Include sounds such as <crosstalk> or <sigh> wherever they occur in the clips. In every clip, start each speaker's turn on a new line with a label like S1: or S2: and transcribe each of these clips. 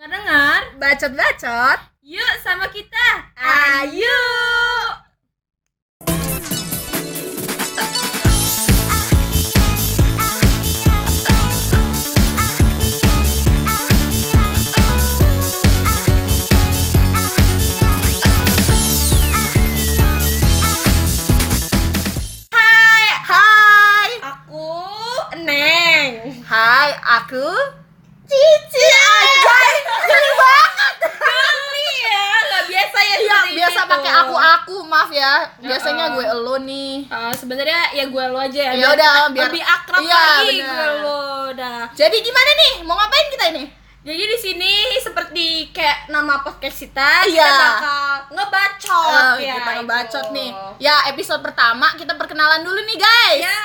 S1: Dengar-dengar,
S2: Bacot-bacot,
S1: yuk sama kita.
S2: ayo! Hai,
S1: Aku
S2: Neng. Hai, aku Cici. Anjay, geli banget.
S1: geli ya, nggak biasa ya.
S2: Iya,
S1: seperti
S2: biasa
S1: itu.
S2: pakai aku aku, maaf ya.
S1: Ya,
S2: Biasanya
S1: eh.
S2: gue elu nih.
S1: Eh, sebenarnya ya gue lo aja ya.
S2: Ya
S1: biar
S2: udah,
S1: kita
S2: biar-
S1: lebih akrab
S2: Iya,
S1: lagi
S2: benar.
S1: gue lo. Dah.
S2: Jadi gimana nih? Mau ngapain kita ini?
S1: Jadi di sini seperti kayak nama podcast kita,
S2: Iya.
S1: kita bakal ngebacot
S2: Eh,
S1: ya.
S2: kita
S1: itu.
S2: ngebacot nih. Ya, episode pertama kita perkenalan dulu nih, guys.
S1: Ya.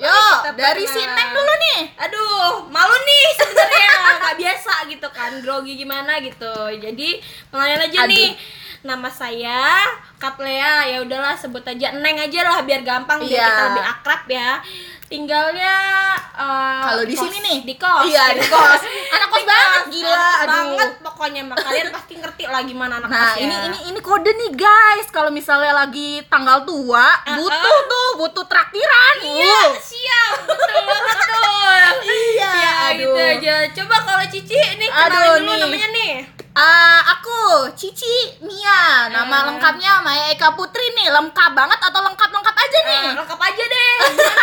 S2: Yo,
S1: mari kita
S2: dari si
S1: perkenalan.
S2: Neng dulu nih.
S1: aduh malu nih sebenarnya <laughs> nggak biasa gitu kan grogi gimana gitu jadi pengenalan aja
S2: Aduh.
S1: nih nama saya Katlea ya udahlah sebut aja Neng aja lah biar gampang biar
S2: Iya.
S1: kita lebih akrab ya tinggalnya eh,
S2: Kalau di
S1: kos-
S2: sini nih.
S1: di kos
S2: Iya,
S1: <laughs>
S2: di kos. Anak kos banget, gila.
S1: Anak kos
S2: Aduh.
S1: banget pokoknya Mak. kalian pasti ngerti lah gimana anak
S2: Nah,
S1: kos ya.
S2: ini ini ini kode nih, guys. Kalau misalnya lagi tanggal tua, butuh tuh, butuh traktiran.
S1: Iya,
S2: Uh.
S1: siap, betul banget tuh.
S2: <laughs> Iya,
S1: Ya, gitu
S2: aduh.
S1: aja. Coba kalau Cici nih kenalin
S2: Aduh,
S1: dulu
S2: nih.
S1: namanya nih.
S2: Ah, aku Cici Mia. Nama
S1: Ah.
S2: lengkapnya Maya Eka Putri nih. Lengkap banget atau lengkap-lengkap Hmm, aja gitu. nih?
S1: Eh, lengkap aja <laughs> deh.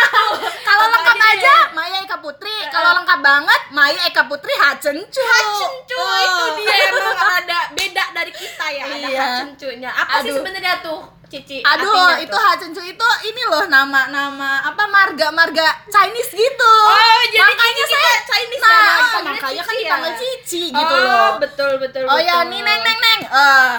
S2: Kalau
S1: lengkap Eh,
S2: lengkap
S1: aja Eh.
S2: aja, Maya Eka Putri. Kalau lengkap banget, Maya Eka Putri Oh. Hacencu.
S1: Hacencu itu dia emang ada beda dari kita ya, ada
S2: Iya.
S1: hacencunya. Apa sih
S2: Aduh.
S1: sebenarnya tuh, Cici?
S2: <laughs> Aduh,
S1: artinya
S2: itu
S1: tuh?
S2: Hacencu itu ini loh nama-nama apa marga-marga Chinese gitu.
S1: Oh, jadi
S2: makanya
S1: Cici
S2: saya
S1: kita Chinese ya,
S2: nah,
S1: dipanggilnya
S2: makanya kan
S1: Cici ya.
S2: dipanggil Cici
S1: Oh,
S2: gitu loh.
S1: betul betul.
S2: Oh ya,
S1: betul.
S2: nih neng neng neng. Eh,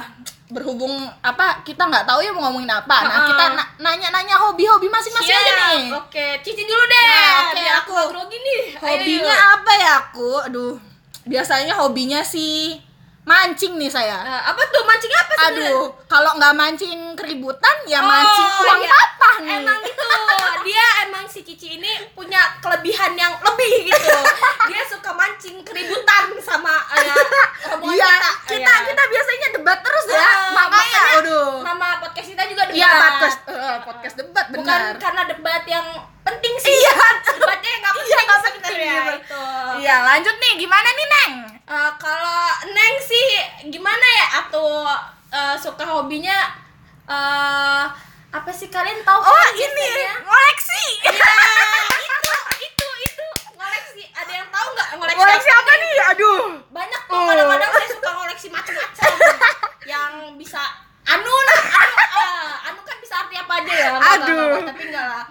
S2: berhubung apa kita nggak tahu ya mau ngomongin apa. Nah,
S1: Ha-ha.
S2: kita na- nanya-nanya hobi-hobi masing-masing
S1: Siap.
S2: aja nih.
S1: Oke, Cici dulu deh.
S2: Nah, oke,
S1: biar aku
S2: aku.
S1: nggak grogi nih. Ayo,
S2: Hobinya
S1: yuk.
S2: apa ya aku? Aduh, biasanya hobinya sih mancing nih saya.
S1: Eh, apa tuh mancing apa sih?
S2: Aduh, kalau nggak mancing keributan ya mancing
S1: Oh,
S2: uang
S1: iya.
S2: patah nih.
S1: Emang gitu, dia emang si Cici ini punya kelebihan yang lebih
S2: <laughs>
S1: gitu. Dia suka mancing keributan sama eh, rombongan
S2: Iya, kita
S1: kita.
S2: kita,
S1: Iya.
S2: biasanya debat terus ya.
S1: Ah,
S2: makanya
S1: makanya-
S2: aduh.
S1: Nama podcast kita juga debat.
S2: Iya, podcast eh, podcast debat
S1: Bukan
S2: benar.
S1: karena debat yang penting sih. Debatnya nggak penting gitu
S2: <laughs> Iya, nggak penting,
S1: sebenarnya
S2: iya.
S1: ya, itu.
S2: Iya, lanjut nih gimana nih, Neng?
S1: Eh, kalau Neng sih gimana ya atau eh, suka hobinya eh, apa sih kalian tahu
S2: Oh,
S1: kan
S2: ini <laughs>
S1: biasanya?
S2: koleksi.
S1: Iya. itu itu itu ngoleksi ada yang tahu nggak ngoleksi,
S2: Koleksi apa nih? Aduh.
S1: banyak tuh
S2: Oh.
S1: kadang-kadang saya suka ngoleksi
S2: <laughs>
S1: macam-macam yang bisa anu lah
S2: Iya,
S1: anu, ah, anu kan bisa arti apa aja ya nggak, nggak, nggak,
S2: Aduh.
S1: tapi enggak lah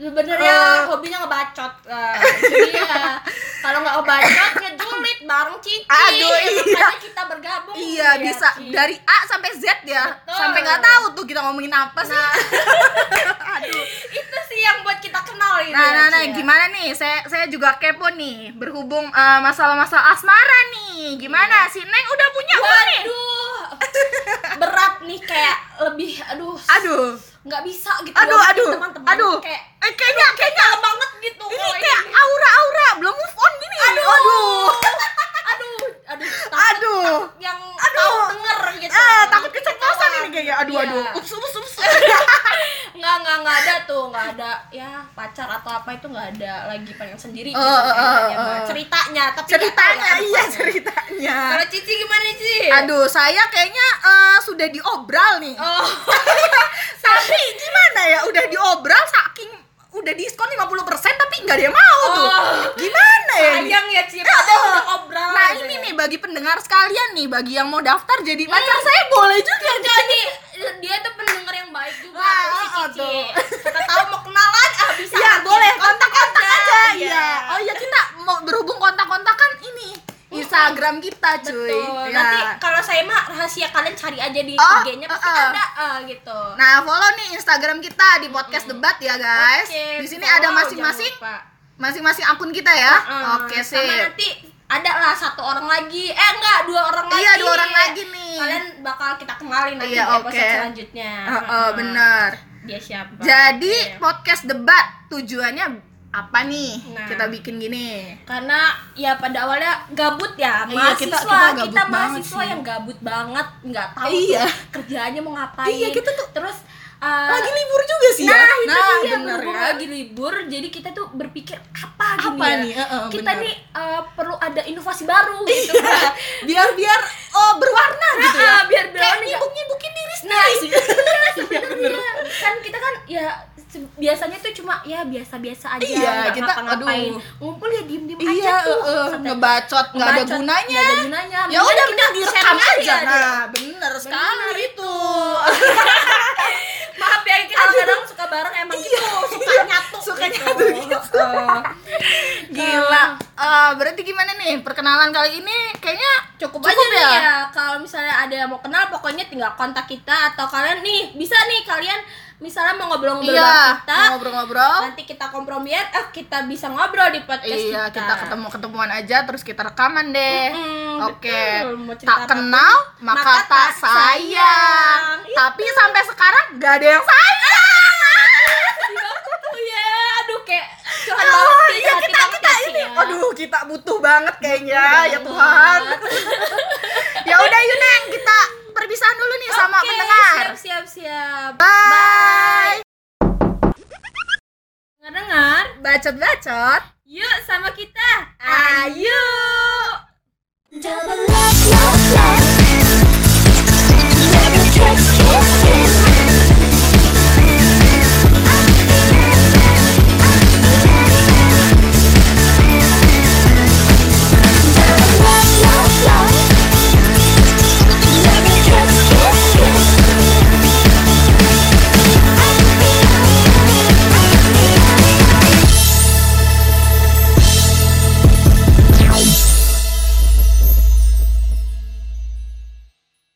S1: sebenarnya
S2: Eh.
S1: hobinya ngebacot eh, jadi ya kalau nggak ngebacot ngejulit bareng cici
S2: Aduh,
S1: Ya,
S2: iya.
S1: makanya kita bergabung
S2: Iya,
S1: ya,
S2: bisa
S1: Ci.
S2: dari A sampai Z ya.
S1: Betul. Nah.
S2: Sampai nggak tahu tuh kita ngomongin apa sih. <laughs> Aduh.
S1: itu sih yang buat kita kenal ini ya,
S2: Nah, nah,
S1: Ci,
S2: nah,
S1: ya.
S2: gimana nih? Saya saya juga kepo nih berhubung eh, masalah-masalah asmara nih. Gimana si Neng udah punya belum nih?
S1: Iya. waduh berat nih kayak lebih aduh
S2: Aduh.
S1: nggak bisa gitu
S2: Aduh,
S1: Nggak
S2: aduh.
S1: mungkin, teman-teman
S2: Aduh.
S1: kayak
S2: Eh, kayaknya kayaknya
S1: kalau banget gitu
S2: ini
S1: kalau
S2: kayak aura-aura belum move on gini. Aduh. <laughs>
S1: aduh aduh takut
S2: Aduh.
S1: yang
S2: Aduh.
S1: tahu denger gitu
S2: Eh, takut keceplosan ini kayaknya. Aduh,
S1: Iya.
S2: aduh. <laughs> Ups, ups, ups.
S1: <laughs> nggak nggak nggak ada tuh nggak ada ya pacar atau apa itu nggak ada lagi pengen sendiri gitu
S2: Eh, eh,
S1: kayaknya,
S2: eh,
S1: Mbak.
S2: eh.
S1: ceritanya tapi nggak
S2: ceritanya,
S1: tahu ya
S2: iya
S1: kedepannya.
S2: ceritanya.
S1: kalau Cici gimana Cici
S2: Aduh, saya kayaknya eh, sudah diobral nih.
S1: oh
S2: <laughs> Tapi gimana ya? Udah diobral saking udah diskon 50% tapi nggak ada yang mau tuh.
S1: Oh.
S2: Gimana ya? ini?
S1: sayang ya Cici
S2: Eh,
S1: ada
S2: oh.
S1: udah obrolan
S2: Nah
S1: gitu ya.
S2: ini
S1: Iya.
S2: nih bagi pendengar sekalian nih, bagi yang mau daftar jadi pacar saya boleh juga nih.
S1: jadi dia tuh pendengar yang baik juga tuh
S2: Wah,
S1: si
S2: oh,
S1: Cici
S2: tuh.
S1: kita tahu mau kenalan ah bisa
S2: Iya
S1: nanti.
S2: boleh kontak-kontak aja.
S1: Iya.
S2: Iya. Oh iya kita mau berhubung kontak-kontakan ini Instagram kita cuy.
S1: Betul.
S2: Iya.
S1: Nanti kalau saya mah rahasia kalian cari aja di
S2: Oh,
S1: IG-nya pasti
S2: uh-uh.
S1: ada eh, gitu.
S2: Nah follow nih Instagram kita di podcast debat ya guys.
S1: Oke,
S2: di sini
S1: follow,
S2: ada masing-masing
S1: jangan lupa.
S2: masing-masing akun kita ya.
S1: Eh,
S2: Oke sih.
S1: Sama nanti ada lah satu orang lagi. Eh enggak, dua orang lagi.
S2: Iya dua orang lagi nih.
S1: Kalian bakal kita kenalin nanti
S2: Iya,
S1: di episode
S2: oke.
S1: selanjutnya.
S2: Oh, oh,
S1: Eh,
S2: benar.
S1: Dia siapa?
S2: Jadi
S1: Oke.
S2: podcast debat tujuannya apa nih
S1: Nah.
S2: kita bikin gini
S1: karena ya pada awalnya gabut ya
S2: Iya,
S1: mahasiswa
S2: kita-
S1: kita,
S2: kita gabut banget
S1: mahasiswa
S2: sih.
S1: yang gabut banget nggak tahu
S2: Iya.
S1: tuh kerjaannya mau ngapain
S2: Iya, kita tuh
S1: terus uh,
S2: lagi libur juga sih
S1: nah
S2: ya
S1: itu dia
S2: bener
S1: berhubung
S2: ya
S1: lagi libur jadi kita tuh berpikir apa gini
S2: apa
S1: ya?
S2: nih Heeh,
S1: kita
S2: Oh, bener.
S1: nih uh, perlu ada inovasi baru gitu
S2: <laughs> biar biar oh, berwarna gitu ya
S1: Ah, biar
S2: kayak
S1: bilang
S2: nyibuk nyibukin diri
S1: nah
S2: sendiri <laughs> Iya, sih
S1: sebenarnya kan kita kan ya se- biasanya tuh cuma ya biasa-biasa aja
S2: Iya,
S1: nggak
S2: kita-
S1: ngapa-ngapain
S2: aduh.
S1: ngumpul ya diem-diem
S2: iya
S1: aja tuh
S2: eh, eh,
S1: santai.
S2: ngebacot nggak ada
S1: Ngebacot,
S2: gunanya
S1: nggak ada gunanya
S2: ya udah
S1: Mendingan
S2: mending
S1: kita
S2: direkam
S1: sharing
S2: aja
S1: deh.
S2: nah bener gitu. sekali itu
S1: gitu. <laughs> maaf ya kita kadang suka bareng emang gitu suka nyatu
S2: Iya. Suka
S1: gitu.
S2: nyatu
S1: <laughs> Heeh.
S2: gila
S1: Ah.
S2: Eh, berarti gimana nih perkenalan kali ini kayaknya cukup,
S1: Cukup
S2: aja
S1: nih
S2: ya,
S1: ya kalau misalnya ada yang mau kenal pokoknya tinggal kontak kita atau kalian nih bisa nih kalian misalnya mau ngobrol-ngobrol bareng
S2: iya
S1: kita
S2: ngobrol-ngobrol
S1: nanti kita kompromi ya, eh kita bisa ngobrol di podcast
S2: Iya,
S1: kita.
S2: kita ketemu ketemuan aja terus kita rekaman deh.
S1: Mm-mm,
S2: Oke.
S1: betul. Mau cerita
S2: Tak
S1: apa?
S2: kenal
S1: maka
S2: maka tak
S1: tak Iya.
S2: sayang.
S1: sayang.
S2: Tapi sampai sekarang gak ada yang sayang.
S1: Iya, betul ya. Aduh kayak curhat
S2: Oh,
S1: banget
S2: iya,
S1: hati
S2: kita kita
S1: podcast
S2: ini.
S1: ya.
S2: Aduh, kita butuh banget kayaknya ya
S1: Bener
S2: Tuhan.
S1: banget.
S2: ya udah Yuneng, kita perpisahan dulu nih sama
S1: Oke,
S2: pendengar.
S1: Siap siap siap.
S2: Bye.
S1: Dengar-dengar.
S2: Bacot-bacot.
S1: Yuk sama kita. Ayo.
S3: Double up your plan. Never trust